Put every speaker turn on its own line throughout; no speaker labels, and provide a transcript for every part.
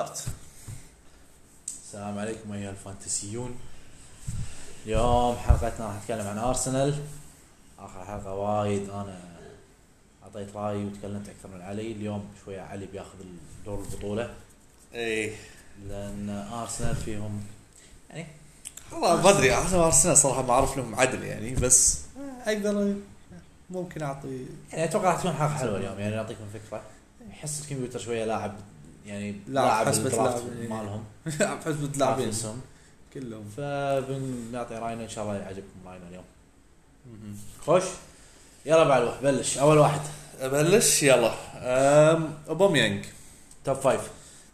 ستارت
السلام عليكم ايها الفانتسيون اليوم حلقتنا راح نتكلم عن ارسنال اخر حلقه وايد انا اعطيت رايي وتكلمت اكثر من علي اليوم شويه علي بياخذ دور البطوله
اي
لان ارسنال فيهم يعني
والله ما ادري انا ارسنال صراحه ما اعرف لهم عدل يعني بس اقدر ممكن اعطي
يعني اتوقع راح تكون حلقه حلوه اليوم يعني نعطيكم فكره يحس الكمبيوتر شويه لاعب يعني
لاعب حسبة
الدرافت
لاعب، يعني.
مالهم
بحسب اللاعبين
لاعب اسمهم
كلهم
فبنعطي راينا ان شاء الله يعجبكم راينا اليوم خوش يلا بعلوح بلش اول واحد
ابلش يلا أم، اوباميانج
توب فايف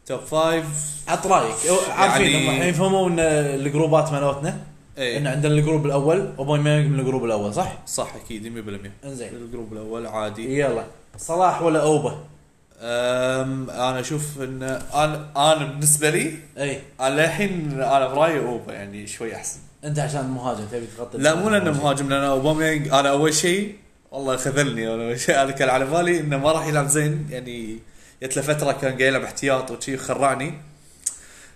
توب فايف
عط رايك أو- عارفين
يعني-
هم الحين يفهموا ان الجروبات مالتنا ان
اي
عندنا الجروب الاول اوباميانج من الجروب الاول صح؟
إيه، صح اكيد 100%
انزين
الجروب الاول عادي
يلا صلاح ولا اوبا؟
أم انا اشوف ان انا انا بالنسبه لي
اي
انا للحين انا برايي اوبا يعني شوي احسن
انت عشان مهاجم تبي تغطي
لا مو لانه مهاجم لان اوباميانج انا اول شيء والله خذلني انا اول شيء انا كان على بالي انه ما راح يلعب زين يعني جت له فتره كان قاعد يلعب احتياط وشي خرعني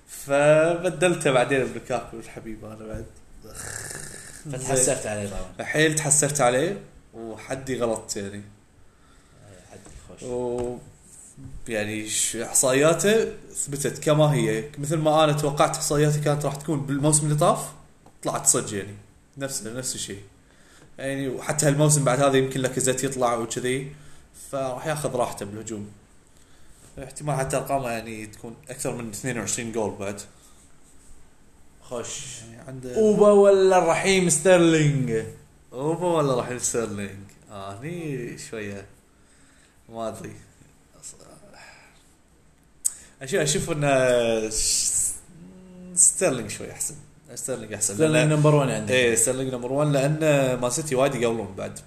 فبدلته بعدين بلوكاكو الحبيب انا بعد زين.
فتحسفت عليه طبعا
حيل تحسفت عليه وحدي غلط يعني
أي حد خوش
و يعني ش- احصائياته ثبتت كما هي مثل ما انا توقعت احصائياته كانت راح تكون بالموسم اللي طاف طلعت صدق يعني نفس نفس الشيء يعني وحتى هالموسم بعد هذا يمكن لاكازيت يطلع وكذي فراح ياخذ راحته بالهجوم احتمال حتى ارقامه يعني تكون اكثر من 22 جول بعد
خوش
يعني عنده
اوبا ولا الرحيم ستيرلينج؟
اوبا ولا راح يستيرلينج آه هني شويه ما ادري اشوف اشوف ان س- ستيرلينج شوي احسن ستيرلينج احسن
ستيرلينج
لأن-
نمبر 1 عندك
ايه ستيرلينج نمبر 1 لان مان سيتي وايد يقولون بعد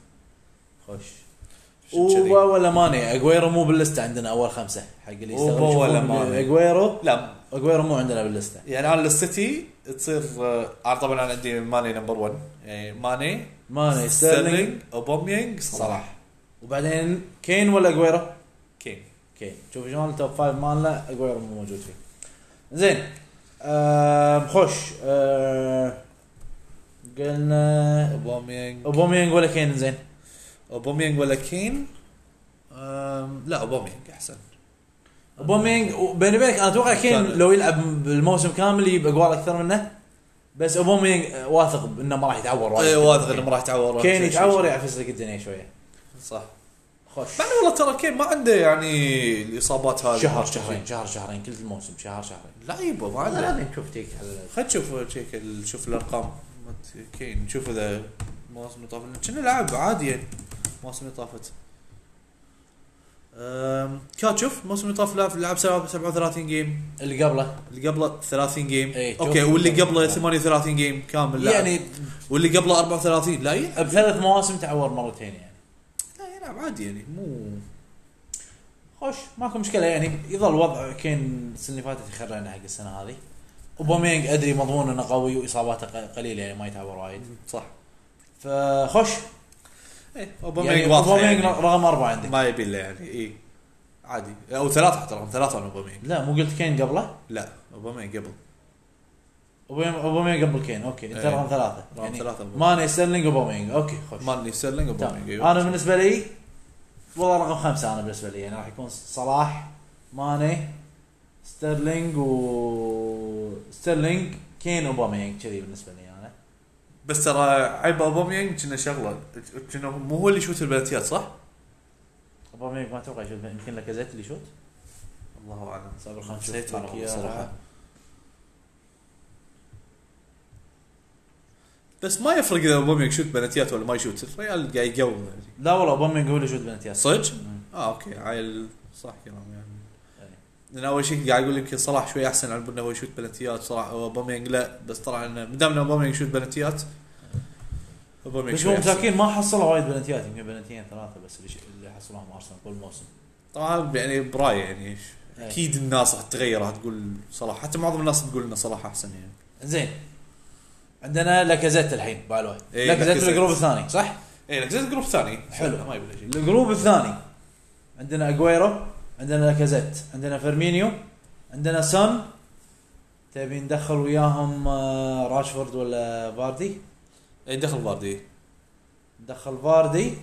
خوش
عشان كذي.
اوبا ولا ماني اجويرو مو باللستة عندنا اول خمسه حق اللي
أوبا
يستغرب يشوفون
ولا ماني؟
اجويرو
لا
اجويرو مو عندنا باللستة
يعني انا للسيتي تصير آه، انا طبعا انا عندي ماني نمبر 1 يعني ماني
ماني ستيرلينج
ستيرلينج اوباميانج صلاح
صلاح وبعدين كين ولا اجويرو؟
كين
كين شوف شلون التوب فايف مالنا اجويرو مو موجود فيه. زين آم، خوش آه، قلنا
اوباميانج
اوباميانج ولا كين زين
اوباميانج ولا كين أم، لا اوباميانج احسن
اوباميانج بيني وبينك انا اتوقع كين
كان-
لو يلعب بالموسم كامل يجيب اجوال اكثر منه بس اوباميانج آه، واثق انه ما راح يتعور يعني. وايد.
اي إيه، واضح انه ما راح يتعور
كين يتعور يعني. يعفس لك الدنيا شويه.
صح
خوش
مع إنه والله ترى كين ما عنده يعني الاصابات هذه
شهر شهرين شهر شهرين كل الموسم شهر شهرين.
لا يبا ما
هذا
عنده
لازم نشوف تيك على-
خلينا نشوف شيك ال- شوف الارقام مالت كين نشوف اذا المواسم اللي طافت كنا لعب عادي يعني المواسم اللي طافت أم، كات شوف الموسم اللي طاف لعب لعب 37 جيم
اللي قبله
اللي قبله 30 جيم
إيه،
اوكي
شوف.
واللي قبله 38 جيم كامل لعب.
يعني
واللي قبله 34 لا يلعب
بثلاث مواسم تعور مرتين يعني.
لا يلعب عادي يعني مو
خوش ماكو مشكله يعني يظل وضع كين السنه اللي فاتت يخرعنا حق السنه هذه وبومينج ادري مضمون انه قوي واصاباته ق- قليله يعني ما يتعور وايد
صح
فخوش
ايه
يعني
اوباميانج واضح
اوباميانج
يعني
رقم اربعه عندك
ما يبي له يعني اي عادي او ثلاثة حتى رقم ثلاثة انا اوباميانج
لا مو قلت كين قبله
لا اوباميانج قبل
أوباميانج- اوباميانج قبل كين اوكي انت
إيه.
رقم ثلاثه
رقم
يعني
ثلاثة أوباميانج.
ماني ستيرلينج اوباميانج اوكي خوش
ماني سيرلينج
تمام.
اوباميانج أيوة.
انا بالنسبه لي والله رقم خمسه انا بالنسبه لي يعني راح يكون صلاح ماني ستيرلينج و ستيرلينج كين اوباميانج كذي بالنسبه لي انا
بس ترى عيب اوباميانج كنا شغلة كنا مو هو اللي يشوت البلاتيات صح؟
اوباميانج ما اتوقع يشوت يمكن لاكازيت اللي يشوت
الله اعلم
صابر خان شوت
نسيت
لك
والله
إياها.
صراحة بس ما يفرق اذا اوباميانج يشوت بلاتيات ولا ما يشوت الريال قاعد يقوي يعني.
لا والله اوباميانج هو اللي يشوت بنت ياسر
صدق؟
مم.
اه اوكي عايل صح كلام يعني
إيه.
لان اول شيء قاعد اقول يمكن صلاح شوي احسن على انه هو يشوت بلنتيات صراحه اوباميانج لا بس طلع انه ما دام إن اوباميانج يشوت بلنتيات اوباميانج
بس
شوي
هم
أحسن.
مساكين ما حصلوا وايد بلنتيات يمكن بلنتيين ثلاثه بس اللي, ش... اللي حصلوهم ارسنال كل موسم
طبعا يعني برايي يعني ش-
إيه.
اكيد الناس راح تتغير راح تقول صلاح حتى معظم الناس تقول انه صلاح احسن يعني
زين عندنا لاكازيت الحين بالوي
إيه،
لاكازيت
لاكازيت.
الجروب الثاني صح؟
اي لك زين إيه، جروب ثاني
حلو.
ما يبي له شيء
الجروب الثاني عندنا اجويرو عندنا لاكازيت عندنا فيرمينيو عندنا سون تبي ندخل وياهم آه، راشفورد ولا باردي
اي إيه، دخل باردي
ندخل باردي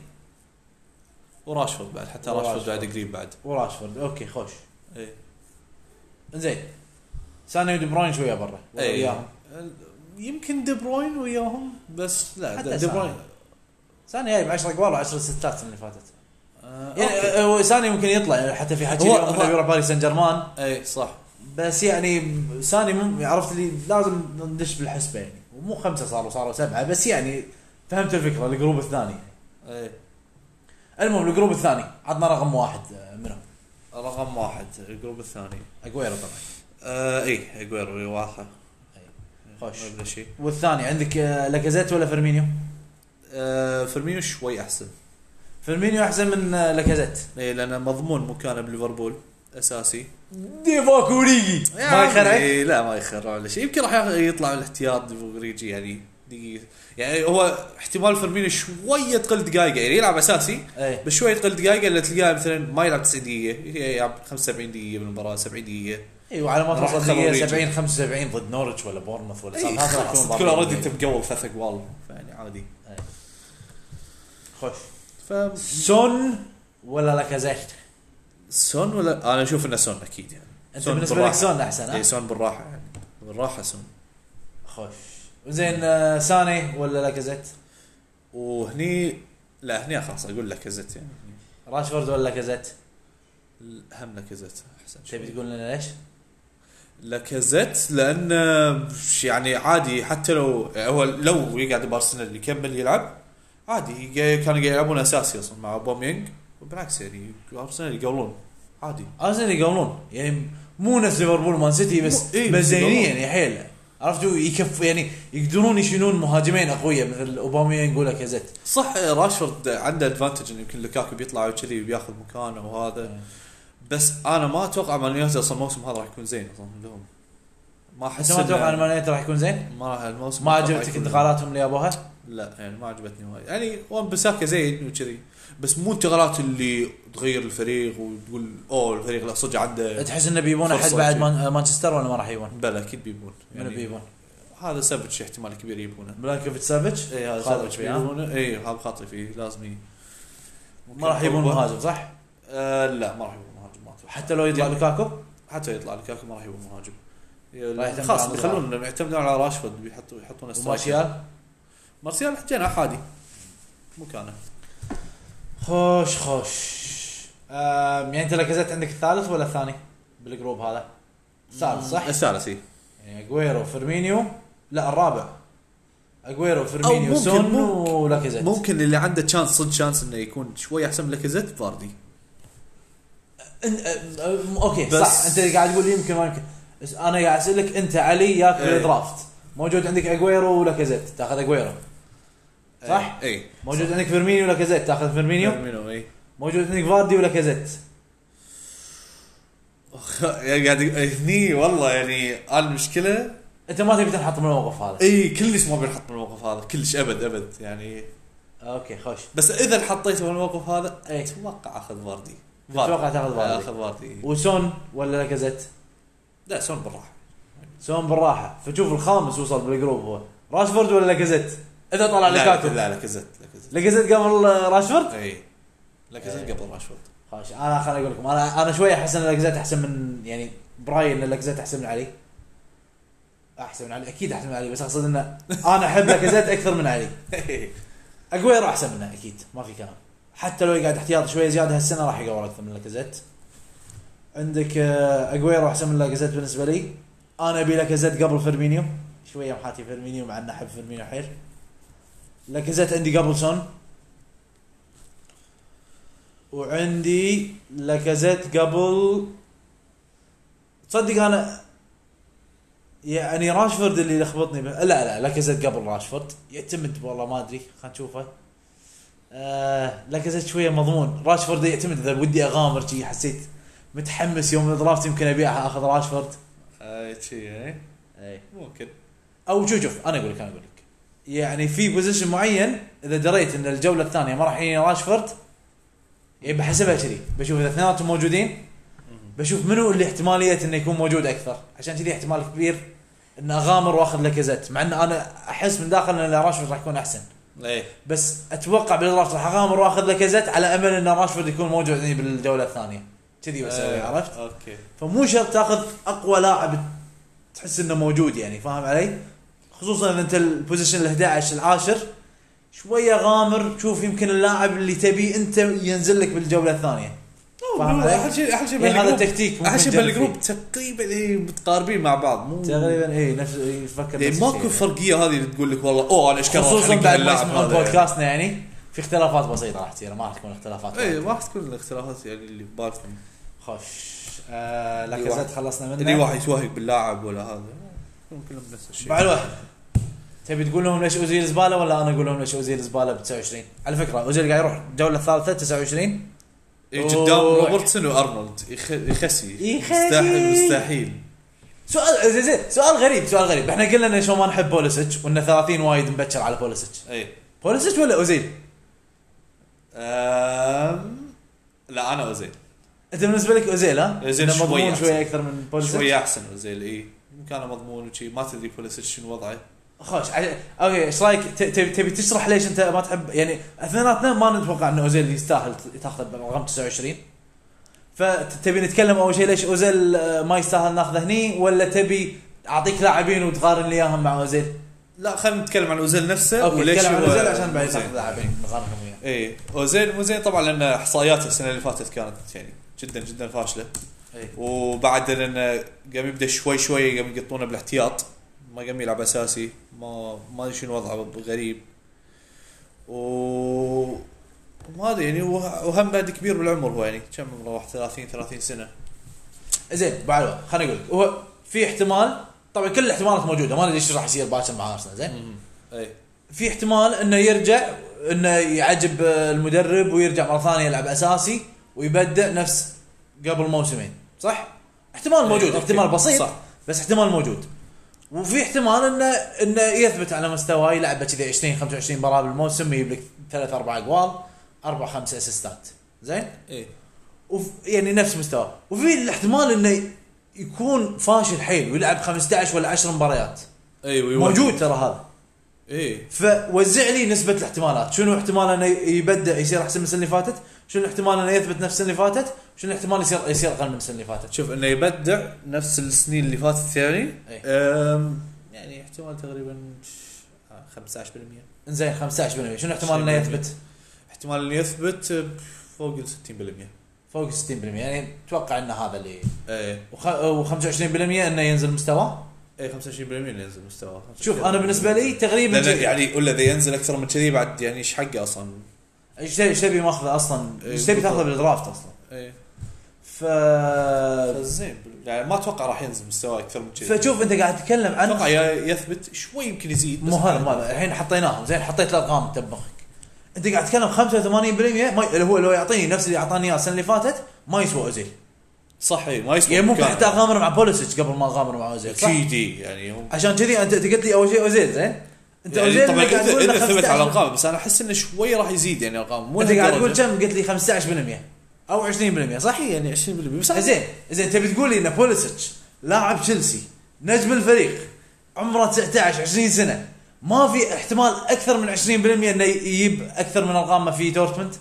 وراشفورد بعد حتى
وراشفورد. إيه.
راشفورد بعد قريب بعد
وراشفورد اوكي خوش
اي
زين ساني ودي بروين شويه برا ولا
إي.
وياهم
إيه. يمكن دي بروين وياهم بس لا
حتى
دي, دي
ساني.
بروين
ساني جايب 10 جوال و10 ستات السنه اللي فاتت
آه
يعني
أوكي.
آه، هو ساني ممكن يطلع يعني حتى في حكي
هو-
اليوم
هو-
انه بيروح باريس سان جيرمان
اي إيه، صح
بس يعني ساني مم عرفت اللي لازم ندش بالحسبه يعني ومو خمسه صاروا صاروا سبعه بس يعني فهمت الفكره الجروب الثاني
اي
المهم الجروب الثاني عطنا رقم واحد آه، منهم
رقم واحد الجروب الثاني
اجويرو طبعا
آه اي اجويرو واضحه
إي. إيه. خوش.
ما بلا شيء
والثاني عندك آه، لاكازيت ولا فيرمينيو؟
آه فيرمينيو شوي احسن
فيرمينيو احسن من آه، لاكازيت
اي لانه مضمون مكانه بليفربول اساسي
ديفاك اوريجي ما يخرعك
إي لا ما يخرع ولا شيء يمكن راح يطلع من الاحتياط ريجي يعني دقيقه يعني هو احتمال فيرمينيو شويه تقل دقائقه يعني يلعب اساسي
اي
بس شويه تقل دقائقه اللي تلقاه مثلا ما يلعب 90 دقيقه يلعب 75 دقيقه بالمباراه 70 دقيقه
ايوه على ما
راح
توصل
تخرب
دقيقة
ريجي.
70 75 ضد نورwich ولا بورنموث ولا
اي
ساوثهامبتون راح
إيه، خلاص
إيه، يكون
تكون اوريدي
ضامنين.
انت مقول ثلاث اقوال فيعني عادي
إي. خوش
ف
سون ولا لاكازيت؟
سون ولا انا اشوف انه سون اكيد يعني
انت
سون
بالنسبه لك
بالراحة.
سون احسن ها؟
اي سون بالراحه يعني بالراحه سون
خوش زين آه، ساني ولا لاكازيت
وهني لا هني خلاص اقول لك كزت يعني
راشفورد ولا لاكازيت
هم لاكازيت احسن شوي.
تبي تقول لنا ليش
لاكازيت لان يعني عادي حتى لو هو لو يقعد بارسنال يكمل يلعب عادي كانوا قاعد يلعبون اساسي اصلا مع بومينج وبالعكس يعني ارسنال يقولون عادي
ارسنال يقولون يعني مو نفس ليفربول مان سيتي بس
مو- إيه،
بس
بس
زينين
يقولون.
يعني حيل عرفتوا يكف يعني يقدرون يشيلون مهاجمين اقوياء مثل اوباميانج ولا كازيت
صح راشفورد عنده ادفانتج انه يمكن لوكاكو بيطلع وكذي بياخذ مكانه وهذا بس انا ما اتوقع مان يونايتد اصلا الموسم هذا راح يكون زين اصلا لهم ما
بس
احس
ما اتوقع ان
إنه-
مان يونايتد راح يكون زين
يعني. ما راح الموسم
ما
راح
عجبتك
يكون-
انتقالاتهم اللي جابوها
لا يعني ما عجبتني وايد يعني وان بساكا زين وكذي بس مو انتقالات اللي تغير الفريق وتقول اوه الفريق لا صدق عنده
تحس انه بيبون احد
فرصة يعني
بعد
شي.
مان- مانشستر ولا ما راح يبون
بلا اكيد بيبون
منو بيبون
هذا سافيتش احتمال كبير يبونه
بلانكوفيتش سافيتش
اي هذا
خاطر
سافيتش
فيه، ها؟
بيبونه اي هذا خاطري فيه لازم ي...
ما راح يبون
ممكن
مهاجم صح
آه لا ما راح يبون مهاجم ما أتوقع. يعني
حتى لو يطلع لوكاكو
حتى يطلع لكاكو ما راح يبون مهاجم يعني
راح يعتمد
خلاص
على
يخلون يعتمدون على راشفورد بيحطوا يحطون استرايكر.
ومارشيال
مارسيال جناح عادي مكانه
خوش خوش أم، يعني انت لاكازيت عندك الثالث ولا الثاني بالجروب هذا؟ الثالث صح؟
الثالث إي.
يعني اجويرو فيرمينيو لا الرابع اجويرو
أو
فيرمينيو
ممكن-
سون
ممكن-
ولاكازيت
ممكن اللي عنده تشانس صدق شانس انه يكون شوي احسن من لاكازيت باردي
أن- أم- أم- اوكي
بس-
صح انت قاعد تقول يمكن ما يمكن بس انا قاعد اسالك انت علي ياك
إيه.
بالدرافت موجود عندك اجويرو ولاكازيت تاخذ اجويرو صح؟
اي
موجود عندك فيرمينيو ولاكازيت تاخذ فيرمينيو
فيرمينيو اي
موجود عندك فاردي ولاكازيت
أخ، يعني قاعد هني والله يعني انا المشكله
انت ما تبي تنحط من الموقف هذا
اي كلش ما بنحط بالموقف هذا كلش ابد ابد يعني
اوكي خوش
بس اذا انحطيته بالموقف هذا
إي.
اتوقع اخذ باردي
اتوقع تاخذ فاردي
اخذ باردي
وسون ولا لاكازيت
لا سون بالراحه
سون بالراحه فشوف الخامس وصل بالجروب هو راشفورد ولا لاكازيت اذا طلع
لا،
لكاكو
لا لاكازيت لاكازيت
لاكازيت قبل راشفورد
اي لاكازيت
إي.
قبل راشفورد
خلاص انا خليني اقول لكم انا انا شويه احس ان لاكازيت احسن من يعني براي ان لاكازيت احسن من علي احسن من علي اكيد احسن من علي بس اقصد انه انا احب لاكازيت اكثر من علي
إيه.
اجويرو احسن منه اكيد ما في كلام حتى لو يقعد احتياط شويه زياده هالسنه راح يقور اكثر من لاكازيت عندك آه، اجويرو احسن من لاكازيت بالنسبه لي انا ابي لاكازيت قبل فيرمينيو شويه محاتي فيرمينيو مع انه احب فيرمينيو حيل لاكازيت عندي قبل سون وعندي لاكازيت قبل تصدق انا يعني راشفورد اللي لخبطني به لا لا لاكازيت قبل راشفورد يعتمد والله ما ادري خلينا نشوفه آه لاكازيت شويه مضمون راشفورد يعتمد اذا ودي اغامر شي حسيت متحمس يوم الدرافت يمكن ابيع اخذ راشفورد
اي آه، شي اي
اي
ممكن
او شوف شوف انا اقول لك انا اقول لك يعني في بوزيشن معين اذا دريت ان الجوله الثانيه ما راح يجيني راشفورد يعني بحسبها كذي بشوف اذا اثنيناتهم موجودين بشوف منو اللي احتماليه انه يكون موجود اكثر عشان كذي احتمال كبير ان اغامر واخذ لاكازيت مع ان انا احس من داخل ان راشفورد راح يكون احسن
اي
بس اتوقع بالدرافت راح اغامر واخذ لاكازيت على امل ان راشفورد يكون موجود عندي بالجوله الثانيه كذي بسوي
آه،
إيوه، عرفت
اوكي
فمو شرط تاخذ اقوى لاعب تحس انه موجود يعني فاهم علي؟ خصوصا ان انت البوزيشن ال 11 العاشر شويه غامر شوف يمكن اللاعب اللي تبيه انت ينزل لك بالجوله الثانيه. فاهم علي؟
احلى شيء احلى شيء
يعني هذا
بالجروب-
التكتيك ممكن
احلى شيء
تجرب
بالجروب تقريبا إيه، متقاربين مع بعض مو
فيه. تقريبا اي إيه، نفس يفكر
يعني
نفس
ماكو
الشيء.
فرقيه هذه اللي تقول لك والله اوه انا ايش كان راح
خصوصا
أحرق
بعد ما
اللاعب
يسمعون
هذا.
بودكاستنا يعني في اختلافات بسيطه راح تصير ما راح تكون اختلافات
اي إيه، ما راح تكون الاختلافات يعني اللي ببالك
خوش آه
اللي
لاكازيت
إيه، واحد-
خلصنا
اللي
منه
واحد يتوهق باللاعب ولا هذا يكون كلهم نفس الشيء
بعد واحد تبي تقول لهم ليش اوزيل زباله ولا انا اقول لهم ليش اوزيل زباله ب 29 على فكره اوزيل قاعد يروح الجوله الثالثه 29
إيه، قدام
أوه.
روبرتسون وارنولد يخ- يخسي
يخسي.
مستحيل مستحيل
سؤال زين زين سؤال غريب سؤال غريب احنا قلنا ان شو ما نحب بوليسيتش وان 30 وايد مبكر على بوليسيتش
اي
بوليسيتش ولا اوزيل؟
أم... لا انا اوزيل
انت بالنسبه لك اوزيل ها؟
أوزيل
إنه
شوي
مضمون
أحسن.
شويه اكثر من بوليسيتش
شويه احسن اوزيل اي مكانه إيه. مضمون وشي ما تدري بوليسيتش شنو وضعه
خوش عج- اوكي ايش رايك ت- تبي تبي تشرح ليش انت ما تحب يعني اثنيناتنا ما نتوقع ان اوزيل يستاهل ت- تاخذه برقم 29 فتبي نتكلم اول شيء ليش اوزيل آه، ما يستاهل ناخذه هني ولا تبي اعطيك لاعبين وتقارن لي اياهم مع اوزيل؟
لا خلينا نتكلم عن اوزيل نفسه
اوكي
وليش
وليش عن
هو إيه،
اوزيل عشان بعدين
أوزيل.
ناخذ لاعبين نقارنهم وياه
اي اوزيل مو زين طبعا لان احصائياته السنه اللي فاتت كانت يعني جدا جدا فاشله
إي.
وبعد لان قام يبدا شوي شوي قام يقطونه بالاحتياط ما قام يلعب اساسي ما ما ادري شنو وضعه غريب و ما ادري يعني وه- وهم بعد كبير بالعمر هو يعني كم عمره واحد 30 30 سنه
زين بعد واحد، خليني اقول لك هو في احتمال طبعا كل الاحتمالات موجوده ما ندري ايش راح يصير باكر مع ارسنال زين
اي
في احتمال انه يرجع انه يعجب آه، المدرب ويرجع مره ثانيه يلعب اساسي ويبدع نفس قبل موسمين صح؟ احتمال موجود
إيه، أوكي.
احتمال بسيط صح.
صح.
بس احتمال موجود وفي احتمال انه انه يثبت على مستواه يلعب كذا 20 25 مباراه بالموسم يجيب لك ثلاث اربع اقوال اربع خمس اسيستات زين؟
اي
وف يعني نفس مستواه وفي الاحتمال انه يكون فاشل حيل ويلعب 15 ولا 10 مباريات
اي ويوقف.
موجود ترى هذا
اي
فوزع لي نسبة الاحتمالات، شنو احتمال انه يبدأ يصير احسن من السنة اللي فاتت؟ شنو الاحتمال انه يثبت نفس السنة اللي فاتت؟ شنو الاحتمال يصير يصير اقل من السنة اللي فاتت؟
شوف انه يبدع نفس السنين اللي فاتت يعني
إي.
أم، يعني احتمال تقريبا 15%
زين 15% شنو احتمال انه يثبت؟
احتمال انه يثبت فوق ال 60%
فوق 60% يعني اتوقع ان هذا اللي
ايه
وخ- و25% انه ينزل مستواه؟
ايه 25% اللي ينزل مستواه
شوف انا بالنسبة لي تقريبا
لأن يعني ولا اذا ينزل اكثر من كذي بعد يعني ايش حقه اصلا
ايش تبي- ايش تبي ماخذه اصلا؟
إيه،
ايش تبي
بالضبط.
تاخذه بالدرافت اصلا؟
ايه
ف
زين يعني ما اتوقع راح ينزل مستواه اكثر من كذي
فشوف انت قاعد تتكلم عن
اتوقع يا- يثبت شوي يمكن يزيد بس يعني
مو هذا مو هذا الحين حطيناهم زين حطيت الارقام انت بمخك انت قاعد تتكلم 85% ما اللي هو لو يعطيني نفس اللي اعطاني اياه السنه اللي فاتت ما يسوى اوزيل
صح إيه، ما يسوى
يعني ممكن
مكانه.
حتى اغامر مع بوليسيتش قبل ما اغامر مع اوزيل صح؟
اكيد إيه، يعني هم
عشان كذي انت انت قلت لي اول شيء اوزيل زين انت
يعني
اوزيل
طبعا
اللي قاعد
اذا
تقول
إذا
إنه
ثبت على
15
ارقام بس انا احس انه شوي راح يزيد يعني ارقام مو
انت قاعد تقول
لهالدرجة.
كم قلت لي 15% او 20% صح؟
يعني 20% بس
زين زين تبي تقول لي ان بوليسيتش لاعب تشيلسي نجم الفريق عمره 19 20 سنه ما في احتمال اكثر من 20% انه يجيب اكثر من ارقام ما في دورتموند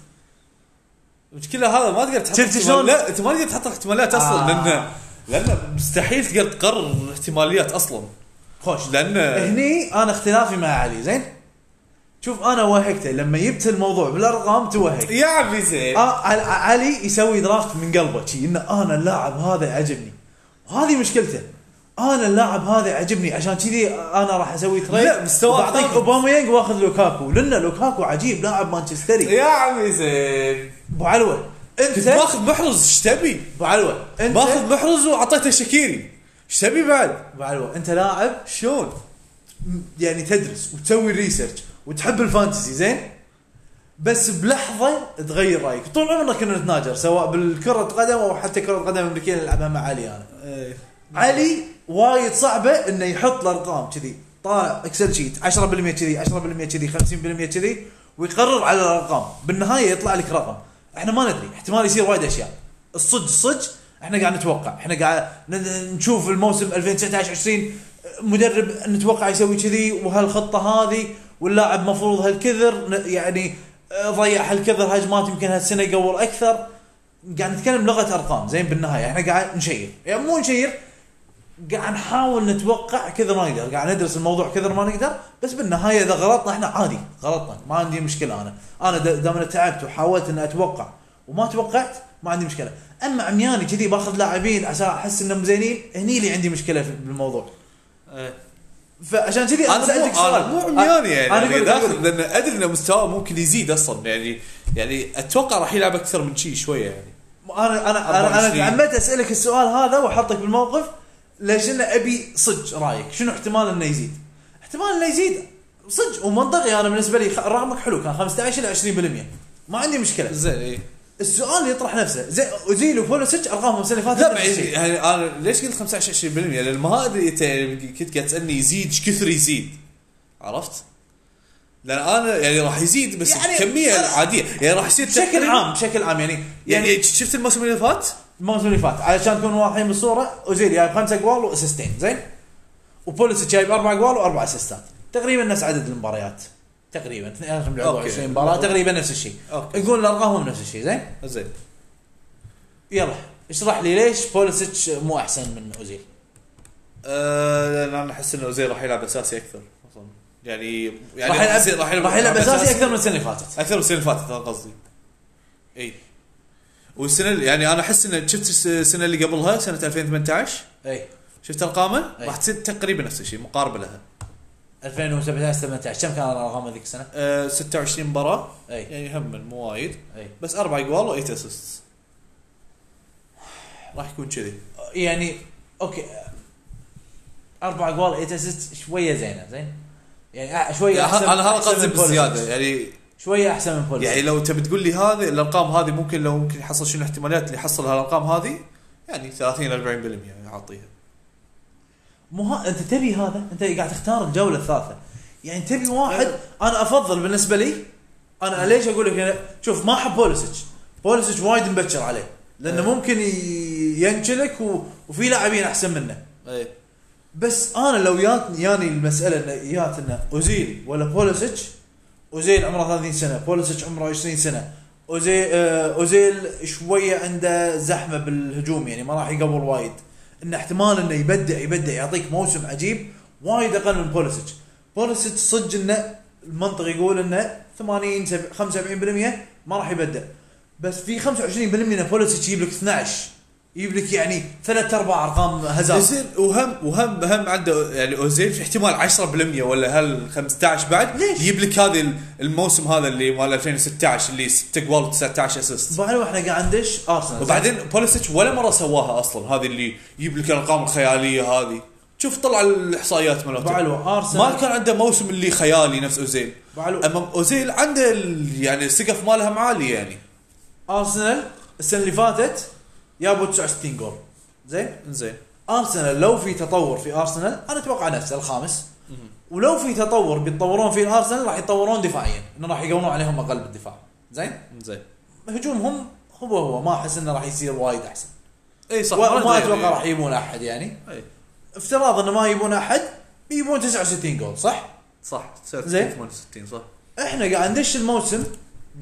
المشكله هذا ما تقدر تحط
شفت
احتمال-
شلون؟
لا انت ما تقدر تحط احتمالات اصلا
آه.
لان لان مستحيل تقدر تقرر احتماليات اصلا
خوش
لان
هني انا اختلافي مع علي زين شوف انا وهقته لما جبت الموضوع بالارقام توهق
يا عمي زين
آه ع- ع- علي يسوي درافت من قلبه شي ان انا اللاعب هذا يعجبني هذه مشكلته انا اللاعب هذا يعجبني عشان كذي انا راح اسوي تريد
لا، مستواه
بعطيك
ثابت.
اوباميانج واخذ لوكاكو لان لوكاكو عجيب لاعب مانشستري
يا عمي زين
ابو علوه
كنت
انت
ماخذ محرز ايش تبي؟
ابو علوه انت
ماخذ محرز واعطيته شكيري ايش تبي بعد؟
ابو علوه انت لاعب
شلون؟
يعني تدرس وتسوي ريسيرش وتحب الفانتسي زين بس بلحظه تغير رايك طول عمرنا كنا نتناجر سواء بالكره قدم او حتى كره القدم الامريكيه اللي العبها مع علي انا علي وايد صعبه انه يحط الارقام كذي طالع اكسل شيت 10% كذي 10% كذي 50% كذي ويقرر على الارقام بالنهايه يطلع لك رقم احنا ما ندري احتمال يصير وايد اشياء الصج صج احنا قاعد نتوقع احنا قاعد ن- نشوف الموسم 2019 20 مدرب نتوقع يسوي كذي وهالخطه هذه واللاعب مفروض هالكثر ن- يعني آه، ضيع هالكثر هجمات يمكن هالسنه يقول اكثر قاعد نتكلم لغه ارقام زين بالنهايه احنا قاعد نشير يعني مو نشير قاعد نحاول نتوقع كثر ما نقدر قاعد ندرس الموضوع كثر ما نقدر بس بالنهايه اذا غلطنا احنا عادي غلطنا ما عندي مشكله انا انا دا- دام انا تعبت وحاولت اني اتوقع وما توقعت ما عندي مشكله اما عمياني كذي باخذ لاعبين عشان احس انهم زينين هني اللي عندي مشكله في- بالموضوع فعشان كذي انا
انا
سالتك
آه. مو انا
سؤال
مو عمياني يعني
أنا
انا
أقول-
داخل لان ادري ان مستواه ممكن يزيد اصلا يعني يعني اتوقع راح يلعب اكثر من شي شويه يعني
انا انا انا انا
24.
تعمدت اسالك السؤال هذا واحطك بالموقف ليش انا ابي صج رايك شنو احتمال انه يزيد؟ احتمال انه يزيد صج ومنطقي انا بالنسبه لي خ- رقمك حلو كان 15 الى 20% ما عندي مشكله
زين إيه. اي
السؤال يطرح نفسه زي اوزيل وبولوسيتش ارقامهم السنه اللي فاتت
لا
نفس
بعيد
الشيء.
يعني انا ليش قلت 25 20% لان ما ادري انت يعني كنت قاعد تسالني يزيد ايش كثر يزيد عرفت؟ لان انا يعني راح يزيد بس
يعني
يعني بكميه
أنا-
عاديه يعني راح يصير
بشكل
تقريباً-
عام بشكل عام يعني
يعني,
يعني
يعني شفت الموسم اللي فات؟
الموسم اللي فات علشان نكون واضحين بالصوره اوزيل جايب خمسة اجوال واسيستين زين وبوليسيتش جايب اربع اجوال واربع اسيستات تقريبا نفس عدد المباريات تقريبا 22
أوكي.
مباراه تقريبا نفس الشيء
اوكي
يقول الارقام هم نفس الشيء زين
زين
يلا اشرح لي ليش بوليسيتش مو احسن من اوزيل
آه لان انا احس انه زين راح يلعب اساسي اكثر أصلاً. يعني يعني
راح يلعب
زين
راح يلعب اساسي اكثر من السنه اللي فاتت
اكثر من السنه اللي فاتت هذا قصدي اي والسنه اللي- يعني انا احس انه شفت الس- السنه اللي قبلها سنه 2018
اي
شفت ارقامه
أي.
راح تصير تقريبا نفس الشيء مقاربه لها
e 2017 18 كم كان الارقام هذيك السنه؟
أه 26 مباراه
اي
يعني هم مو وايد
اي
بس اربع اجوال و8 اسيست راح يكون كذي
يعني اوكي اربع اجوال 8 اسيست شويه زينه زين يعني أ- شويه احسن
انا هذا
أحسن
قصدي
من بوليسيتش.
بالزياده يعني
شويه احسن من بوليسيتش
يعني لو تبي تقول لي هذه الارقام هذه ممكن لو ممكن يحصل شنو الاحتمالات اللي يحصل هالارقام هذه يعني 30 40% يعني اعطيها
مو ها انت تبي هذا انت قاعد تختار الجوله الثالثه يعني تبي واحد انا افضل بالنسبه لي انا ليش اقول لك أنا- شوف ما احب بوليسيتش بوليسيتش وايد مبكر عليه لانه
أي.
ممكن ي- ينشلك و... وفي لاعبين احسن منه
اي
بس انا لو يات ياني المساله انه يات انه اوزيل ولا بوليسيتش اوزيل عمره 30 سنه بوليسيتش عمره 20 سنه اوزيل آه، اوزيل شويه عنده زحمه بالهجوم يعني ما راح يقبل وايد ان احتمال انه يبدع يبدع يعطيك موسم عجيب وايد اقل من بوليسيتش بوليسيتش صدق انه المنطق يقول انه 80 سب- 75% ما راح يبدع بس في 25% ان بوليسيتش يجيب لك 12 يجيب لك يعني ثلاث ارباع ارقام هزار
زين وهم وهم هم عنده يعني اوزيل في احتمال 10% ولا هل 15 بعد
ليش؟
يجيب لك هذه ال- الموسم هذا اللي مال 2016 اللي 6 جوال 19 اسيست
بعد احنا قاعد ندش ارسنال
طيب. وبعدين بوليسيتش ولا مره سواها اصلا هذه اللي يجيب لك الارقام الخياليه هذه شوف طلع الاحصائيات مالته
بعلو ارسنال
ما كان عنده موسم اللي خيالي نفس اوزيل
بعلو
اما اوزيل عنده ال- يعني السقف مالها معالي يعني
ارسنال السنه اللي فاتت جابوا 69 جول زين
زين
ارسنال لو في تطور في ارسنال انا اتوقع نفسه الخامس ولو في تطور بيتطورون فيه الارسنال راح يتطورون دفاعيا انه راح يقوون عليهم اقل بالدفاع زين
زين
هجومهم هو هو ما احس انه راح يصير وايد احسن
اي صح
وما
أدري
اتوقع
يعني.
راح يجيبون احد يعني
إي.
افتراض انه ما يجيبون احد يجيبون 69 جول صح؟
صح
زين.
68 صح
احنا قاعد ندش الموسم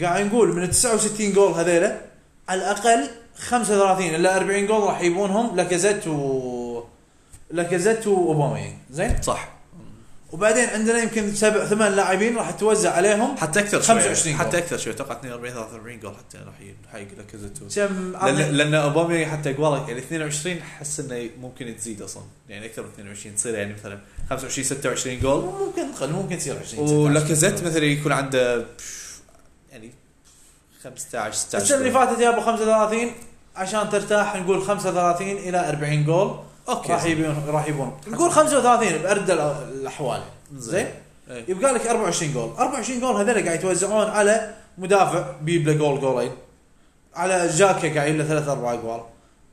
قاعد نقول من 69 جول هذيلا على الاقل 35 الى 40 جول راح يبونهم لاكازيت و لاكازيت واوباميانج زين
صح
وبعدين عندنا يمكن سبع ثمان لاعبين راح توزع عليهم
حتى اكثر شوي
25
حتى
جول.
اكثر شوي اتوقع 42 43 جول حتى راح يحقق لاكازيتو
كم
لان لان اوباما حتى اجواره يعني 22 حس انه ممكن تزيد اصلا يعني اكثر من 22 تصير يعني مثلا 25 26 جول
ممكن تقل ممكن تصير 20
ولاكازيت مثلا يكون عنده يعني 15 16
السنه اللي
جول.
فاتت جابوا 35 عشان ترتاح نقول 35 الى 40 جول راح
اوكي
يبون راح يبون نقول 35 بارد الاحوال زين
إيه.
يبقى لك 24 جول 24 جول هذول قاعد يتوزعون على مدافع بيجيب له جول جولين على جاكا قاعد يجيب له ثلاث اربع جوال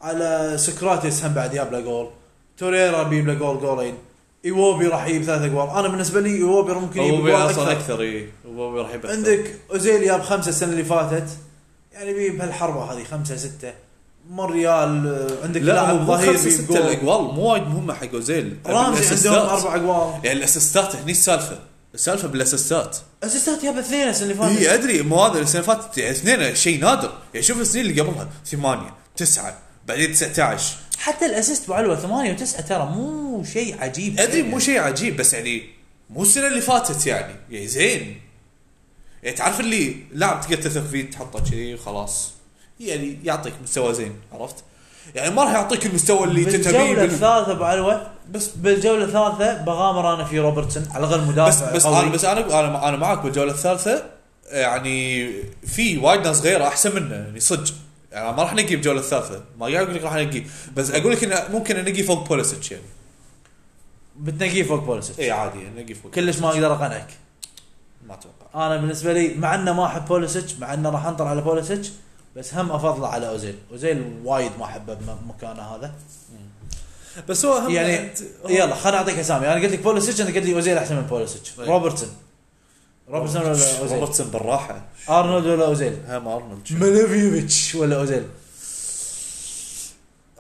على سكراتيس هم بعد جاب له جول توريرا بيجيب له جول جولين ايوبي راح يجيب ثلاث جوال انا بالنسبه لي ايوبي ممكن يجيب
اوباما
جوال اكثر
اصلا اكثر اي اوباما راح يبقى
عندك اوزيل جاب خمسه السنه اللي فاتت يعني بيجيب هالحربه هذه خمسه سته مونريال آه، عندك
لا
لاعب
هو ظهير
ظهير
ست
بيجول.
الاقوال مو وايد مهمه حق اوزيل
رامزي عندهم
الأسيستات.
اربع اقوال
يعني الاسيستات هني السالفه السالفه بالاسيستات
اسيستات جاب اثنين السنه اللي فاتت
هي ادري إيه، مو هذا السنه اللي فاتت يعني اثنين شيء نادر يعني شوف السنين اللي قبلها ثمانيه تسعه بعدين 19
حتى الاسيست بعلوه ثمانية وتسعة ترى مو شيء عجيب
ادري مو شيء عجيب بس يعني مو السنه اللي فاتت يعني يعني زين يعني تعرف اللي لاعب تقدر تثق فيه تحطه كذي وخلاص يعني يعطيك مستوى زين عرفت؟ يعني ما راح يعطيك المستوى اللي تنتمي
بالجوله
بال...
الثالثه بعلوه
بس
بالجوله الثالثه بغامر انا في روبرتسون على الاقل مدافع
بس بس
قوي.
انا بس انا انا انا معك بالجوله الثالثه يعني في وايد ناس غيره احسن منه يعني صدق يعني ما راح نقي بالجوله الثالثه ما قاعد اقول لك راح نقي بس اقول لك انه ممكن انقي فوق بوليسيتش يعني
بتنقيه فوق بوليسيتش
اي عادي انقي فوق
كلش ما اقدر اقنعك
ما اتوقع
انا بالنسبه لي مع انه ما احب بوليسيتش مع انه راح انطر على بوليسيتش بس هم افضله على اوزيل اوزيل وايد ما احبه بمكانه هذا
بس هو هم
يعني يلا خليني اعطيك اسامي انا قلت لك بوليسيتش انت قلت لي اوزيل احسن من بوليسيتش
طيب.
روبرتسون روبرتسون ولا اوزيل
روبرتسون بالراحه
ارنولد ولا اوزيل
هم ارنولد
مليفيوفيتش ولا اوزيل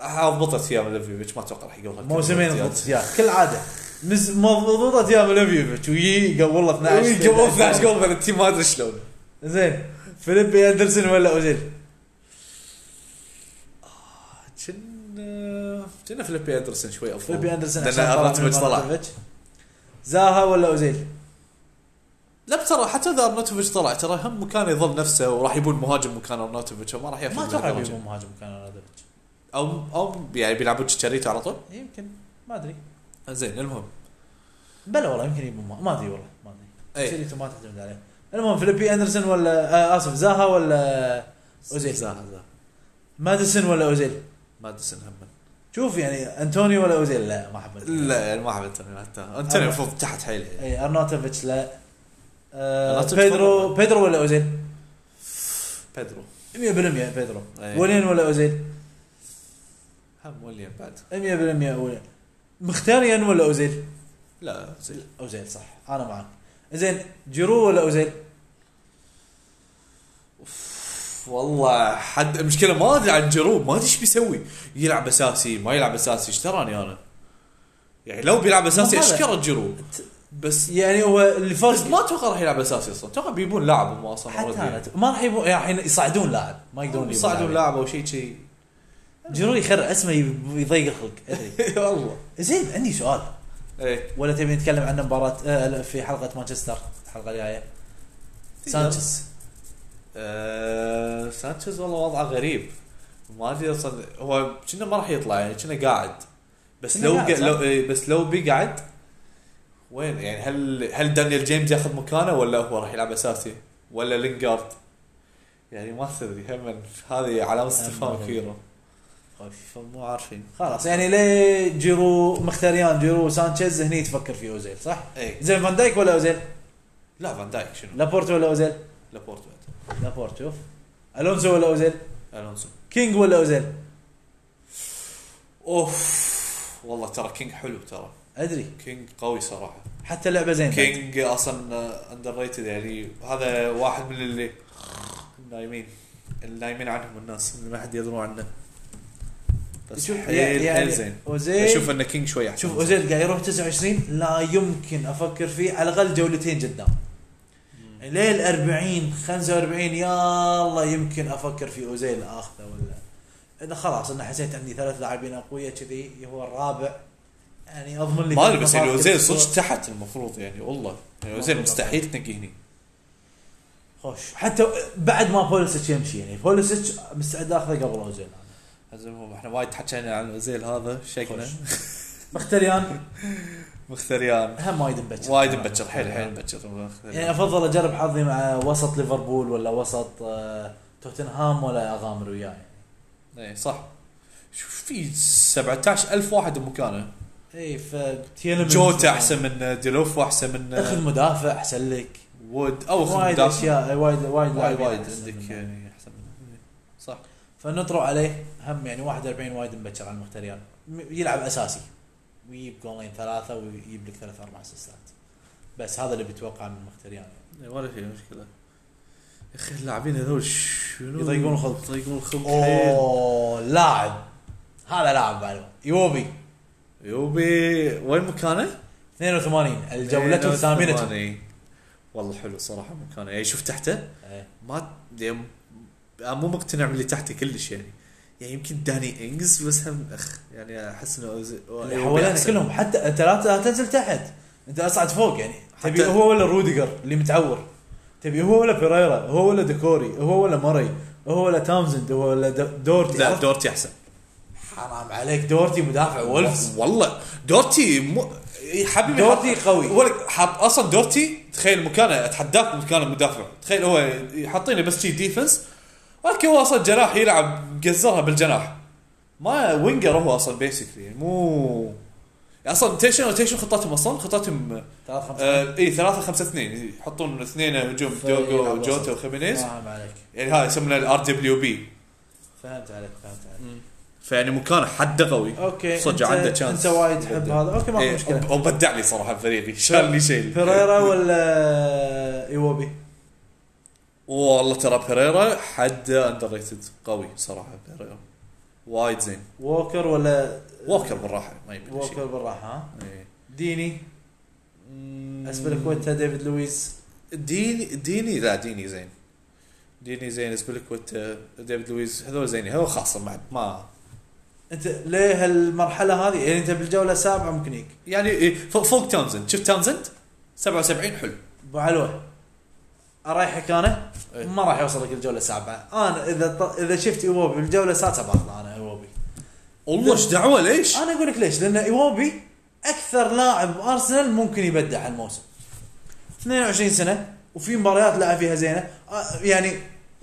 أه، ضبطت ايام ليفيوفيتش ما اتوقع راح يقولها
موسمين ضبط يا كالعاده مز- مضبوطه يا مليفيوفيتش ويجي قبل له 12
قبل 12 جول بين التيم ما ادري شلون
زين فيليبي اندرسون ولا اوزيل
كنا كنا فيليبي اندرسون شوي افضل
فيليبي اندرسون
لأن
عشان طلع من
أرنولد طلع.
أرنولدوفيتش. زاها ولا اوزيل
لا ترى حتى اذا ارنوتوفيتش طلع ترى هم مكانه يظل نفسه وراح يبون مهاجم مكان ارنوتوفيتش ما راح ياخذ
ما
منه
اتوقع
مهاجم.
بيجيبون مهاجم كان رادوفيتش
او او يعني بيلعبون تشاريتا على طول
يمكن ما ادري
زين المهم
بلا والله يمكن يجيبون مه- ما ادري والله ما ادري
اي
شريته ما تعتمد عليه المهم فيليبي اندرسون ولا آه اسف زاها ولا أوزيل.
زاها زاها
ماديسون ولا اوزيل
ماديسون هم
شوف يعني انتونيو ولا اوزيل لا ما احب أنتونيو.
لا يعني ما احب انتوني حتى انتوني
أنا-
المفروض تحت حيله يعني.
اي ارناتوفيتش إيه، لا آه
أرناتوفيتش
بيدرو
طبعاً.
بيدرو ولا اوزيل
بيدرو
100% بيدرو
أي.
ولين ولا اوزيل
هم وليان بعد
100% ولين مختاريان ولا اوزيل
لا زين
اوزيل صح انا معك زين جيرو ولا اوزيل
والله حد مشكله ما ادري عن جيرو ما ادري ايش بيسوي يلعب اساسي ما يلعب اساسي ايش تراني انا يعني لو بيلعب اساسي
ما هذا.
اشكره جيرو بس
يعني هو اللي فرق
بس ما اتوقع راح يلعب اساسي اصلا اتوقع بيبون لاعب هم اصلا
حتى
already.
انا أت- ما راح يبون يعني الحين يصعدون لاعب ما يقدرون يبون
يصعدون لاعب او شيء شيء
جيرو يخرع اسمه يب- يضيق الخلق ادري
والله
زين عندي سؤال
ايه
ولا تبي نتكلم عن مباراه آه، في حلقه مانشستر الحلقه الجايه سانشيز
آه، سانشيز والله وضعه غريب ما ادري اصلا هو كنا ما راح يطلع يعني كنا قاعد بس
كنا
لو
قاعد،
قاعد
صح؟
لو إيه، بس لو بيقعد وين يعني هل هل دانيال جيمز ياخذ مكانه ولا هو راح يلعب اساسي ولا لينجارد يعني ما تدري هم هذه علامه استفهام كبيره فمو عارفين
خلاص يعني ليه جيرو مختاريان جيرو سانشيز هني تفكر في اوزيل صح؟
اي
زين فان دايك ولا اوزيل؟
إيه. لا فان دايك شنو
لابورتو ولا اوزيل؟
لابورت بعد
لابورتو شوف الونسو ولا اوزيل؟
الونسو
كينج ولا اوزيل؟
اوف والله ترى كينج حلو ترى
ادري
كينج قوي صراحه
حتى لعبه زين
كينج اصلا اندر ريتد يعني هذا واحد من اللي النايمين النايمين عنهم الناس اللي ما حد يدرون عنه بس
شوف
حيل
يعني-
حيل زين
اوزيل
اشوف ان كينج شوي احسن
شوف اوزيل قاعد يروح 29 لا يمكن افكر فيه على الاقل جولتين قدام ليل 40 45 يلا يمكن افكر في اوزيل اخذه ولا اذا خلاص انا حسيت عندي ثلاث لاعبين اقوياء كذي هو الرابع يعني اضمن لي
ما ادري
ثلاث
بس يعني
نقاط
اوزيل
كل أسبوع.
صدق تحت المفروض يعني والله يعني اوزيل مستحيل تنقي هني
خوش حتى بعد ما بوليسيتش يمشي يعني بوليسيتش مستعد اخذه قبل اوزيل
المهم احنا وايد حكينا عن اوزيل هذا شكله
خوش. مختريان
مختريان
هم وايد مبكر
وايد
آه.
مبكر حيل حيل مبكر مختريان.
يعني افضل اجرب حظي مع وسط ليفربول ولا وسط آه، توتنهام ولا اغامر وياه يعني.
اي إيه، صح شوف في 17000 واحد بمكانه
اي فتيلم
جوتا احسن من ديلوف واحسن
اخذ
من
مدافع احسن لك
وود او اخذ
وايد
مدافع
اشياء وايد وايد
وايد
لاعبين
وايد
أحسن
عندك
منه.
يعني احسن منه. صح
فنطروا عليه هم يعني 41 وايد مبكر على المختريان م- يلعب اساسي ويجيب جولين ثلاثه ويجيب لك ثلاث
إيه،
اربع اسيستات بس هذا اللي بتوقع من المختريان يعني.
ولا في مشكله اخي اللاعبين هذول شنو
يضيقون الخلق.
يضيقون الخلق حيل.
اوه لاعب هذا لاعب معلومة يوبي
يوبي وين مكانه؟ إيه،
82 الجولة الثامنة
ثمانية. والله حلو صراحه مكانه يعني شوف تحته
إيه.
ما يعني أنا مو مقتنع باللي تحته كلش يعني يعني يمكن داني انجز بس هم اخ يعني احس انه أوز-
اللي
يوبي
حوالينا
أحسن.
كلهم حتى انت لا لا تنزل تحت انت اصعد فوق يعني تبي
حتى-
هو ولا روديجر اللي متعور تبي هو ولا بيريرا هو ولا ديكوري هو ولا ماري هو ولا تامزند هو ولا د- دورتي
لا
عرفت؟
دورتي احسن
حرام عليك دورتي مدافع وولفز
والله دورتي مو حبيبي
دورتي قوي.
ولا حط اصلا دورتي تخيل مكانه اتحداك مكانه مدافع تخيل هو حاطينه بس شي ديفنس اوكي هو اصلا جناح يلعب قزرها بالجناح ما وينجر هو اصلا بيسكلي يعني مو اصلا تيشن روتيشن خطتهم اصلا خطتهم
ثلاث خمسة
آه اي ثلاثة خمسة اثنين يحطون اثنين هجوم دوجو
يلعب وسط.
وجوتا وخيمينيز
فاهم عليك
يعني هاي يسمونه الار دبليو بي
فهمت عليك فهمت عليك
فيعني مكانه حده قوي
اوكي
صدق
أنت-
عنده chance.
انت وايد تحب
بدع.
هذا اوكي ماكو
إيه،
مشكلة
وب- وبدع لي صراحه فريقي شال لي شيء
بيريرا ولا ايوبي
والله ترى بيريرا حد اندر ريتد قوي صراحه بيريرا وايد زين
ووكر ولا
ووكر بالراحه ما يبي له
ووكر
شيء
بالراحه ها
إيه.
ديني اسفل الكويت ديفيد لويس
ديني ديني لا ديني زين ديني زين اسبليكويتا ديفيد لويز هذول زينين هذول خاصه ما ما
انت ليه هالمرحله هذه يعني انت بالجوله السابعه ممكن هيك
يعني إيه، فوق, فوق تامزند شفت تامزند 77 حلو
ابو علوه اريحك انا
إيه.
ما راح يوصلك الجوله السابعه انا اذا ط... اذا شفت ايوبي بالجوله السادسه بطلع انا ايوبي
والله ايش دعوه ليش؟
انا اقول لك ليش لان ايوبي اكثر لاعب بارسنال ممكن يبدع هالموسم 22 سنه وفي مباريات لعب فيها زينه آه، يعني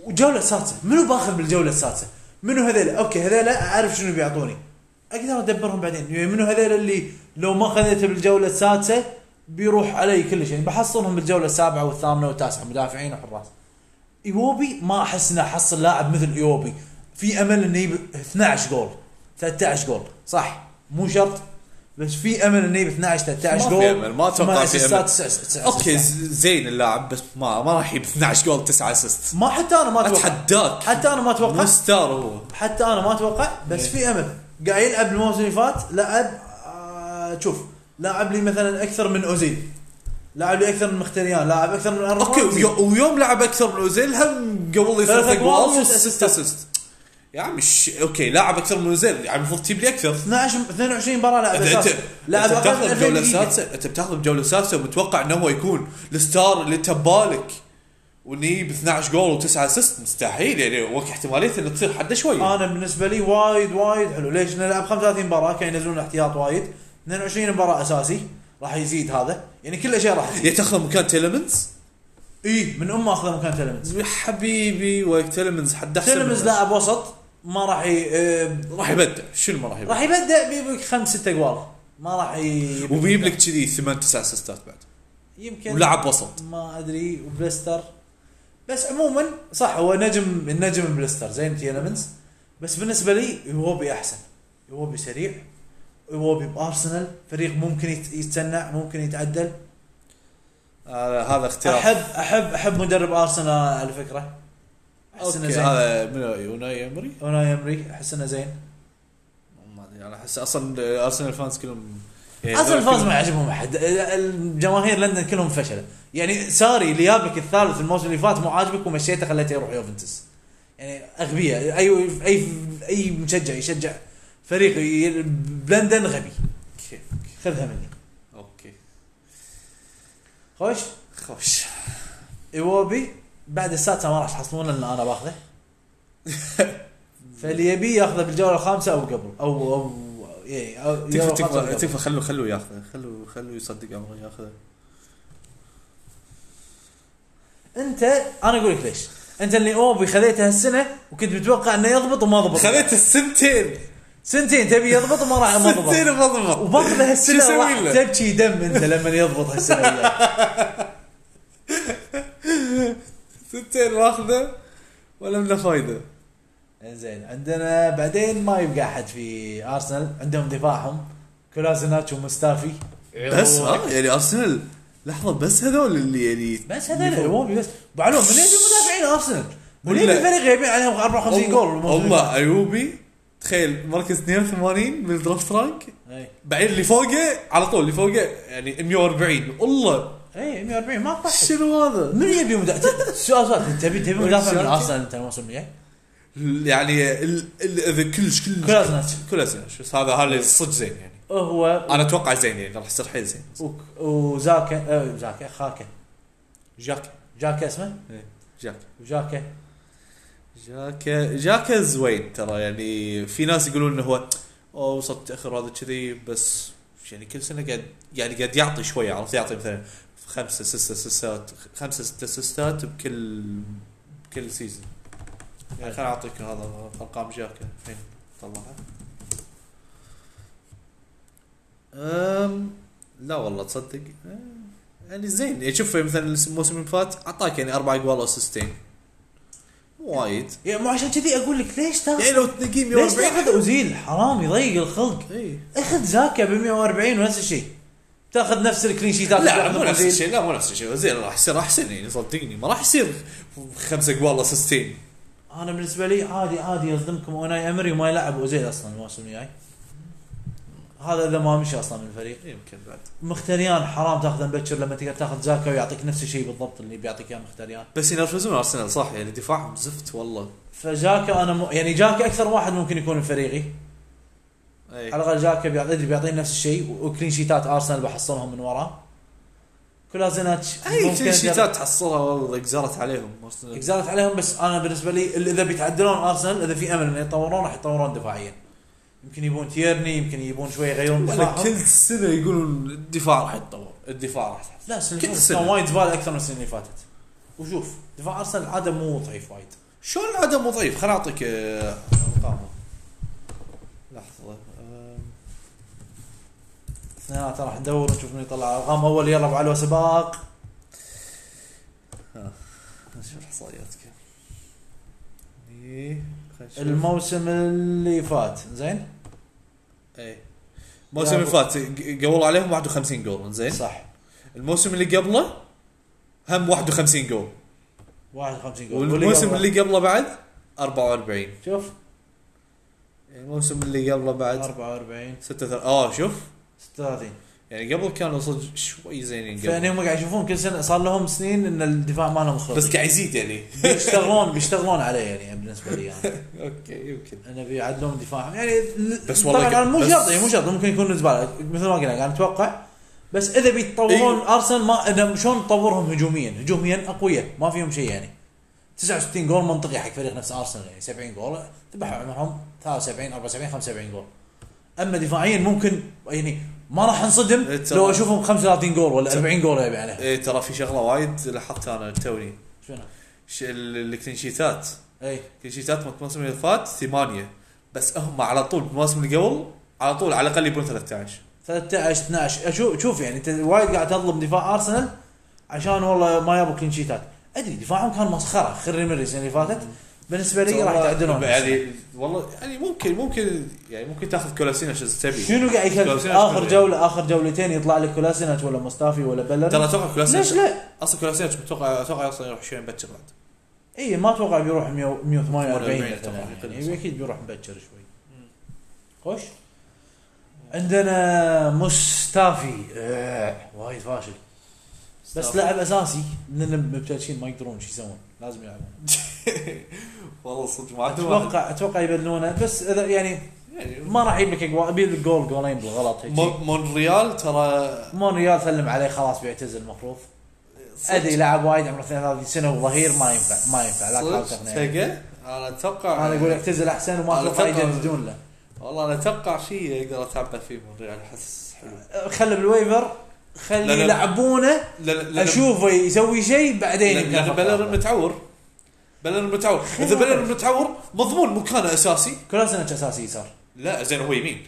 وجوله سادسه منو باخذ بالجوله السادسه؟ منو هذيلا؟ اوكي هذيلا اعرف شنو بيعطوني اقدر ادبرهم بعدين يعني منو هذيلا اللي لو ما خذيته بالجوله السادسه بيروح علي كل شيء بحصلهم بالجوله السابعه والثامنه والتاسعه مدافعين وحراس ايوبي ما احس انه حصل لاعب مثل ايوبي في امل انه يجيب 12 جول 13 جول صح مو شرط بس في امل انه يجيب 12 13
ما في
جول
أمل، ما أتوقع
ثمان
في
أسيستات،
أمل.
تسع- تسع
اوكي
أسيستات.
ز- زين اللاعب بس ما ما راح يجيب 12 جول 9 اسيست
ما حتى انا ما اتوقع
اتحداك
حتى انا ما اتوقع
مو ستار هو
حتى انا ما اتوقع بس
إيه.
في امل قاعد يلعب الموسم اللي فات لعب آه، شوف لعب لي مثلا اكثر من اوزيل لعب لي اكثر من مختريان لعب اكثر من أرنولد.
اوكي ويو- ويوم لعب اكثر من اوزيل هم قبل
ثلاث
يصير
أجوال
جوال
وست
وست اسيست يا عم ش... اوكي لاعب اكثر من اوزيل يعني المفروض تجيب لي اكثر
12 22 مباراه لعب
انت انت
أساسي. لعب
انت
اقل من
بتاخذ
2000
بجوله
دقيقه
سادسه انت بتاخذ بجوله سادسه ومتوقع انه هو يكون الستار اللي انت ببالك وانه يجيب 12 جول و9 اسيست مستحيل يعني وقت احتماليه انه تصير حده شوي
انا بالنسبه لي وايد وايد حلو ليش نلعب 35 مباراه كان ينزلون احتياط وايد 22 مباراه اساسي راح يزيد هذا يعني كل شيء راح يزيد
يعني تاخذ مكان تيلمنز
اي من امه اخذ مكان تلمز
يا حبيبي وقت تيلمنز حد احسن
تلمز
منه.
لاعب وسط ما راح ي... آه،
راح يبدع شنو ما راح يبدع
راح يبدا بيجيب لك خمس ست اجوال ما راح ي...
وبيجيب لك كذي 8 9 اسيستات بعد
يمكن
ولاعب وسط
ما ادري وبلستر بس عموما صح هو نجم النجم بلستر زين تيلمنز بس بالنسبه لي يوبي احسن يوبي سريع يوبي بارسنال فريق ممكن يت- يتسنع ممكن يتعدل
هذا هذا اختيار
احب احب احب مدرب ارسنال على فكره احس انه
اوكي
زين
هذا من يوناي امري
اوناي امري احس انه زين
ما يعني ادري انا احس اصلا ارسنال فانز كلهم يعني
اصلا
هذول
الفاز
كلهم-
ما عجبهم احد الجماهير لندن كلهم فشله يعني ساري اللي جابك الثالث الموسم اللي فات مو عاجبك ومشيته خليته يروح يوفنتوس يعني اغبياء اي اي اي مشجع يشجع فريق ي- بلندن غبي
اوكي
خذها مني
اوكي
خوش
خوش
ايوبي بعد السادسه ما راح تحصلونه لان انا باخذه فاللي يبي ياخذه بالجوله الخامسه او قبل او او إيه، أو الجولة
تكفى
الخامسة أو
تكفى
قبل.
تكفى خلوه خلوه ياخذه خلوه خلوه يصدق امره ياخذه
انت انا اقول لك ليش انت اللي اوبي خذيته هالسنه وكنت متوقع انه يضبط وما ضبط
خذيت السنتين
سنتين تبي يضبط وما راح ما
سنتين
ضبط
ما ضبط
وباخذه
شو
هالسنه
يسوي
راح
له؟
تبكي دم انت لما يضبط هالسنه وياك.
سنتين ماخذه ولا منه فايده
انزين عندنا بعدين ما يبقى احد في ارسنال عندهم دفاعهم كولازيناتش ومستافي
بس آه، ها يعني ارسنال لحظه بس هذول اللي يعني
بس هذول اوبي بس بعلوم من يجي المدافعين غايبين ارسنال وليه
لا.
الفريق غايبين عليهم 54 جول الموسم
هم ايوبي تخيل مركز 82 بالدرافت رانك
اي
بعدين اللي فوقه على طول اللي فوقه يعني 140 والله
اي 140 ما طاح
شنو هذا؟
من يبي مدافع سؤال سؤال أنت تبي تبي مدافع من ارسنال انت الموسم الجاي
يعني ال- ال- إذا كلش كلش
كلاسنات
كلها زين بس هذا هذا صدق زين يعني
هو
انا اتوقع زين يعني راح يصير حيل زين
وك- وزاكا آه، زاكا خاكا
جاكا
جاكا اسمه
جاكا
جاكا
جاكا جاكا زوين ترى يعني في ناس يقولون انه هو اوه وصلت اخر هذا كذي بس يعني كل سنه قاعد يعني قاعد يعطي شويه عرفت يعطي مثلا خمسه سته سيستات خمسه سته سيستات بكل بكل سيزون يعني خليني اعطيك هذا ارقام جاكا فين طلعها أم لا والله تصدق أم، يعني زين يعني شوف مثلا الموسم اللي فات اعطاك يعني اربع جوال واسستين مو وايد
يعني مو عشان كذي اقول لك ليش تاخذ
يعني لو تنقي
ليش
140
تاخذ اوزيل حرام يضيق الخلق
اي
اخذ زاكا ب 140 ونفس الشيء تاخذ نفس الكلين شيتات
لا مو نفس الشيء لا مو نفس الشيء زين راح يصير احسن يعني صدقني ما راح يصير خمسه جوال اسيستين
انا بالنسبه لي عادي عادي يصدمكم اوناي امري وما يلعب اوزيل اصلا الموسم الجاي هذا اذا ما مشي اصلا من الفريق
يمكن بعد
مختريان حرام تاخذه مبكر لما تقدر تاخذ زاكا ويعطيك نفس الشيء بالضبط اللي بيعطيك اياه مختريان
بس ينرفزون ارسنال صح يعني دفاعهم زفت والله
فجاكا انا م... يعني جاكا اكثر واحد ممكن يكون بفريقي
اي إيه.
على الاقل جاكا بيعطي ادري بيعطيني نفس الشيء و- وكلين شيتات ارسنال بحصلهم من وراه كولازيناتش
اي
ممكن
كل إيه، شيتات تحصلها والله قزرت عليهم أرسنال.
قزرت عليهم بس انا بالنسبه لي ال- اذا بيتعدلون ارسنال اذا في امل انه يتطورون راح يتطورون دفاعيا يمكن يبون تيرني يمكن يبون شوي يغيرون
ولا
دفاعهم
كل سنه يقولون الدفاع راح يتطور الدفاع راح يتطور.
لا السنة
كل
اللي فاتت
سنة.
كان وايد زباله اكثر من السنه اللي فاتت وشوف دفاع ارسنال عاده مو ضعيف وايد
شلون العدم ضعيف خل اعطيك آه، ارقامهم لحظه آم،
اثنيناتنا راح ندور ونشوف من يطلع ارقام اول يلا ابو علوه سباق
نشوف احصائياتك إيه، خل نشوف.
الموسم اللي فات زين
اي الموسم اللي فات ق- قولوا عليهم 51 جول زين
صح
الموسم اللي قبله هم 51 جول
51 جول
والموسم
واللي
اللي قبله بعد 44
قبله. شوف
الموسم اللي قبله بعد
44
6 اه شوف
36
يعني قبل كانوا صدق شوي زينين
فيعني
قبل
هم قاعد يشوفون كل سنه صار لهم سنين ان الدفاع مالهم خلط
بس قاعد يزيد يعني
بيشتغلون بيشتغلون عليه يعني بالنسبه لي يعني
اوكي يمكن
انه بيعدلون دفاعهم يعني ال-
بس والله
طبعا انا مو
بس-
شرط يعني مو شرط ممكن يكون زباله مثل ما قلنا انا اتوقع بس اذا بيتطورون
إيه.
ارسنال ما انهم شلون تطورهم هجوميا هجوميا اقوياء ما فيهم شيء يعني 69 جول منطقي حق فريق نفس ارسنال يعني 70 جول
إيه.
ذبحوا عمرهم 73 74 75 جول اما دفاعيا ممكن يعني ما راح انصدم
إيه، ترى-
لو اشوفهم 35 جول ولا 40 جول يبي عليها
إيه ترى في شغله وايد لاحظتها انا توني
شنو؟
ش- ال- الكلين شيتات
اي
كلين شيتات مالت الموسم اللي فات ثمانيه بس هم على طول الموسم اللي قبل على طول على الاقل يبون 13
13 12 اشوف شوف يعني انت وايد قاعد تظلم دفاع ارسنال عشان والله ما يبوا كلين شيتات ادري دفاعهم كان مسخره خري مري السنه اللي يعني فاتت بالنسبه لي راح
والله
يتعدلون
يعني والله يعني ممكن ممكن يعني ممكن تاخذ كولاسينش اذا تبي
شنو قاعد يكلف
كولاسينش
اخر
مدري.
جوله اخر جولتين يطلع لك كولاسينات ولا مصطفي ولا
ترى
بلر
اتوقع
ليش
كولاسينش
لا؟
اصلا كولاسينش متوقع اتوقع اصلا يروح شوي مبكر بعد
اي إيه، ما اتوقع بيروح 100 148
48
مثلاً
طبعاً،
يعني
يقل.
اكيد بيروح مبكر شوي خوش عندنا مصطفي آه، وايد فاشل بس
مصطفي.
لاعب اساسي لان مبتلشين ما يقدرون شو يسوون لازم يلعبون
والله صدق ما عندهم واحد.
اتوقع اتوقع يبدلونه بس اذا يعني
يعني
ما راح يجيب لك اجوال يبي لك جول جولين بالغلط هيك
مون- مونريال ترى
مونريال سلم عليه خلاص بيعتزل المفروض
صدق-
ادري لاعب وايد عمره 32 سنه وظهير ما ينفع ما ينفع لا
صدق
تحاول تقنعني
تقل. انا اتوقع
انا اقول اعتزل احسن وما
أنا
اتوقع
أتوقع-
يجددون له
والله انا اتوقع شيء يقدر اتعبى فيه مونريال احس حلو
خله بالويفر
لا،
خليه
لا.
يلعبونه
لا لا لا
اشوفه يسوي شيء بعدين يمكن
لان
أفكر.
بلرين متعور بلرين متعور اذا بلرين متعور مضمون مكانه اساسي
كولاسينيتش اساسي يسار
لا زين هو يمين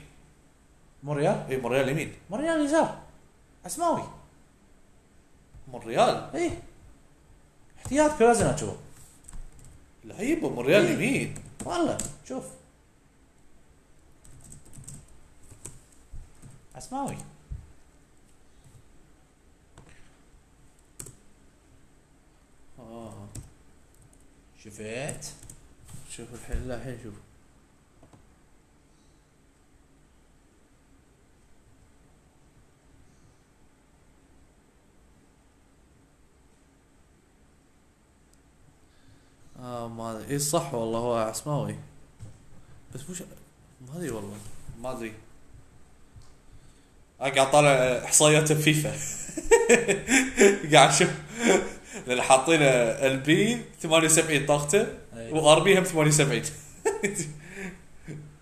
مونريال
اي مونريال يمين
مونريال يسار عسماوي
مونريال
اي احتياط كولاسينيتش هو
لعيبه مونريال
إيه.
يمين
والله شوف عسماوي
آه.
شفت
شوف الحين لا الحين شوف اه ما ادري اي صح والله هو عسماوي بس مش ما ادري والله ما ادري انا قاعد طالع احصائيات فيفا قاعد شوف لان حاطين البي 78 طاقته
أي.
وار بي هم 78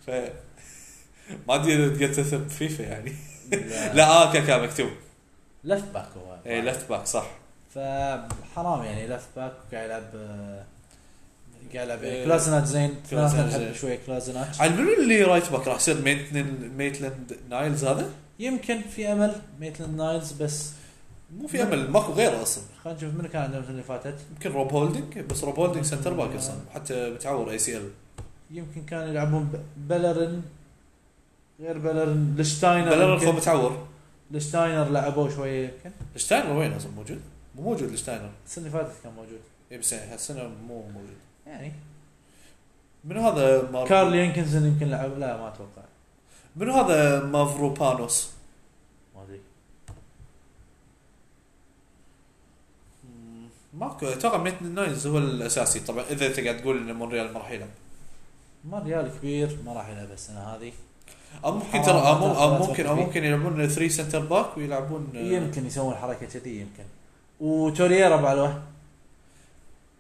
ف ما ادري اذا تقتل بفيفا يعني لا إيه، اه كاكا مكتوب
لفت باك هو
اي لفت باك صح
فحرام يعني لفت باك قاعد يلعب آه، قاعد يلعب
إيه.
كلازنات زين
كلازنات
كلازنات
زين.
نحب شويه كلازنات
عاد منو اللي رايت باك راح يصير ميتلند ميتلند نايلز هذا؟
يمكن في امل ميتلند نايلز بس
مو في امل ماكو غيره اصلا
خلينا نشوف منو كان عندهم السنه اللي فاتت
يمكن روب هولدنج بس روب هولدنج سنتر باك اصلا حتى متعور اي سي ال
يمكن كانوا يلعبون ب- بلرن غير بلرن لشتاينر
بلرن
يمكن.
خو متعور
لشتاينر لعبوه شويه يمكن
الشتاينر وين اصلا موجود؟ مو موجود الشتاينر
السنه اللي فاتت كان موجود
اي بس يعني هالسنه مو موجود
يعني
من هذا مار-
كارل ينكنسون يمكن لعب لا ما اتوقع
من هذا مافروبانوس؟
ما ادري
مم، ماكو اتوقع ميتلند نايلز هو الاساسي طبعا اذا انت قاعد تقول ان مونريال ما راح يلعب
ما ريال كبير ما راح يلعب السنه هذه
او ممكن
حرام
ترى
آه، ما
أو مم-
تأخذ
او ممكن او
وقت
ممكن يلعبون 3 سنتر باك ويلعبون آه،
يمكن يسوون حركه كذي يمكن وتوريرا بعلوه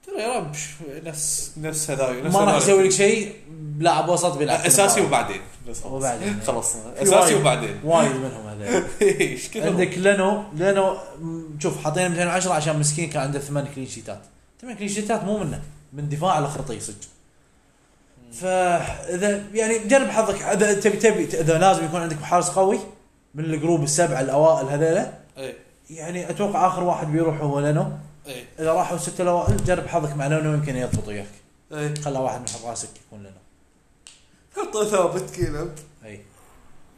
ترى يا رب ش- نفس نفس هذاوي نفس
ما راح
هذاوي.
يسوي لك شيء لاعب وسط بيلعب كل
اساسي
مرة.
وبعدين بس خلاص.
وبعدين.
خلاص
في
اساسي
وايد.
وبعدين
وايد منهم هذول
ايش كثر
عندك لينو لينو م- شوف حاطين 210 عشان مسكين كان عنده ثمان كلين شيتات ثمان كلين شيتات مو منه من دفاع على خطي صدق فاذا يعني جرب حظك اذا تبي تبي اذا لازم يكون عندك حارس قوي من الجروب السبعه الاوائل هذيلا
اي
يعني اتوقع اخر واحد بيروح هو لينو
اي
اذا راحوا سته الاوائل جرب حظك مع لينو يمكن يضبط وياك
اي
خلى واحد من حظ راسك يكون لينو
إيه. حطه ثابت كذا
اي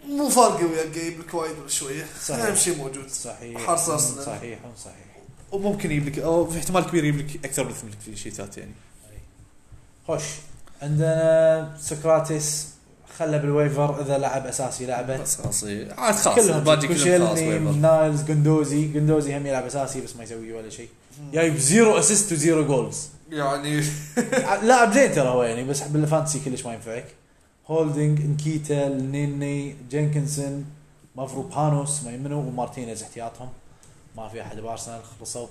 مو فارقه ويا الجيم لك وايد شويه
صحيح. أهم
شيء موجود
صحيح
حارس أرسنال.
صحيح صحيح
وممكن يجيب لك او في احتمال كبير يجيب لك اكثر من ثمان شيتات يعني
أي. خوش عندنا سقراطيس خلى بالويفر اذا لعب اساسي لعبه
بس خلاص إي. عاد خلاص
كلهم
الباقي كلهم خلاص
كوشيلني
ويبر.
نايلز جندوزي جندوزي هم يلعب اساسي بس ما يسوي ولا شيء جايب زيرو اسيست وزيرو جولز
يعني
لاعب زين ترى هو يعني بس بالفانتسي كلش ما ينفعك هولدنج نكيتا نيني جينكنسون مافروبانوس ما يمنو ومارتينيز احتياطهم ما في احد بارسنال خلصوا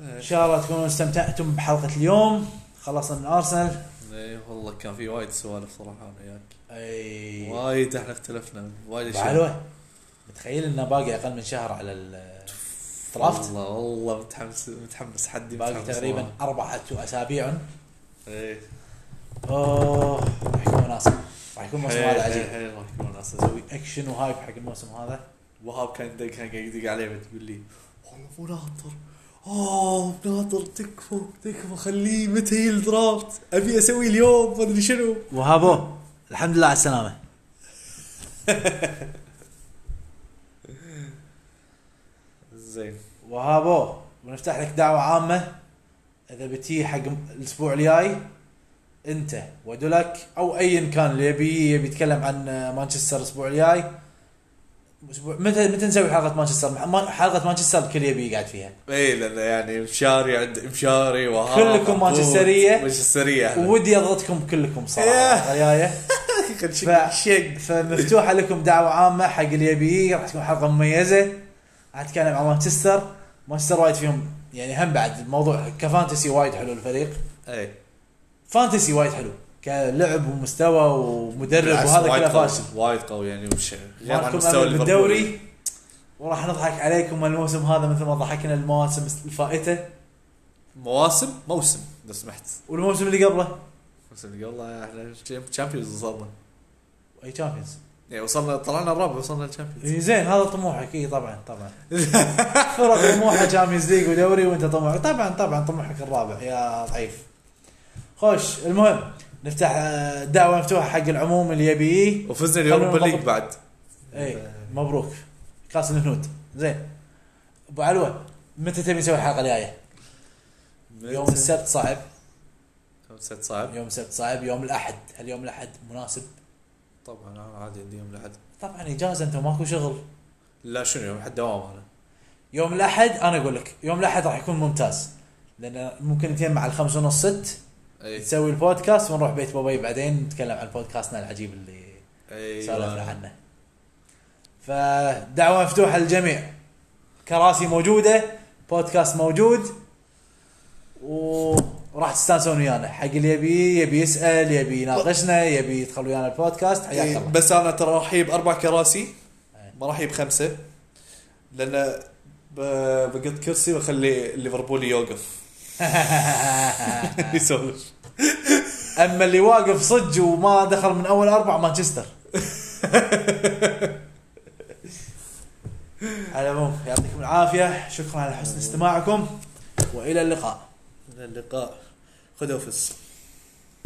ان شاء الله تكونوا استمتعتم بحلقه اليوم خلصنا من ارسنال
اي والله كان في وايد سوالف صراحه انا وياك
اي
وايد احنا اختلفنا وايد
حلوه متخيل انه باقي اقل من شهر على الدرافت
والله والله متحمس متحمس حدي
باقي
متحمس
تقريبا
والله.
اربعه اسابيع
ايه
اوه راح يكون مناسب راح يكون موسم
حيل
هذا عجيب
حيل راح يكون عسل
نسوي اكشن وهايب حق الموسم هذا
وهاب كان يدق كان قاعد يدق عليه بتقول لي والله مو ناطر اوه ناطر تكفى تكفى خليه متى هي الدرافت ابي اسوي اليوم ما ادري شنو
وهابو الحمد لله على السلامه
زين
وهابو بنفتح لك دعوه عامه اذا بتي حق الاسبوع الجاي انت ودولك او ايا كان اللي يبي يبي يتكلم عن مانشستر الاسبوع الجاي اسبوع متى متى نسوي حلقه مانشستر ما- حلقه مانشستر الكل يبي قاعد فيها
اي لان يعني مشاري عند مشاري وهاب
كلكم
عبود،
مانشسترية.
مانشستريه
ودي اضغطكم كلكم
ياه.
صراحه جايه
شق شق
فمفتوحه لكم دعوه عامه حق اللي يبي راح تكون حلقه مميزه راح نتكلم عن مانشستر مانشستر وايد فيهم يعني هم بعد الموضوع كفانتسي وايد حلو الفريق
اي
فانتسي وايد حلو كلعب ومستوى ومدرب
بالعكس،
وهذا
وايد
كله
قوي،
فاشل
وايد قوي يعني وش غير عن
مالكم
مستوى
امل
ليفربول.
بالدوري وراح نضحك عليكم الموسم هذا مثل ما ضحكنا المواسم الفائته
مواسم موسم لو سمحت
والموسم اللي قبله
موسم اللي قبله إيه، احنا تشامبيونز وصلنا
اي تشامبيونز
يعني وصلنا طلعنا الرابع وصلنا الشامبيونز
إيه، زين هذا طموحك إيه، اي طبعا طبعا فرق طموحها تشامبيونز ليج ودوري وانت طموحك طبعا طبعا طموحك الرابع يا ضعيف خوش المهم نفتح آه، دعوه مفتوحه حق العموم اللي يبي
وفزنا اليوروبا
خلونا
ليج بعد إيه.
اي مبروك كاس الهنود زين ابو علوه متى تبي نسوي الحلقه الجايه؟ يوم السبت صعب
يوم السبت صعب
يوم السبت صعب يوم الاحد هل يوم الاحد مناسب؟ إيه،
طبعا انا عادي عندي يوم الاحد
طبعا اجازه انت ماكو شغل
لا شنو يوم الاحد دوام انا
يوم الاحد انا اقول لك يوم الاحد راح يكون ممتاز لان ممكن نتجمع على الخمسة ونص ست
اي
نسوي البودكاست ونروح بيت بابي بعدين نتكلم عن بودكاستنا العجيب اللي
إيه،
سولفنا
اي
عنه فدعوه مفتوحه للجميع كراسي موجوده بودكاست موجود وراح تستانسون ويانا حق اللي يبي يبي يسال يبي يناقشنا يبي يدخل ويانا البودكاست حياك الله
إيه، بس انا ترى راح اجيب اربع كراسي
إي.
ما راح اجيب خمسه لان ب- بقط كرسي واخلي الليفربولي يوقف
إيه.
يسولف
اما اللي واقف صج وما دخل من اول اربع مانشستر على العموم يعطيكم العافيه شكرا على حسن استماعكم والى اللقاء
الى اللقاء خذوا فس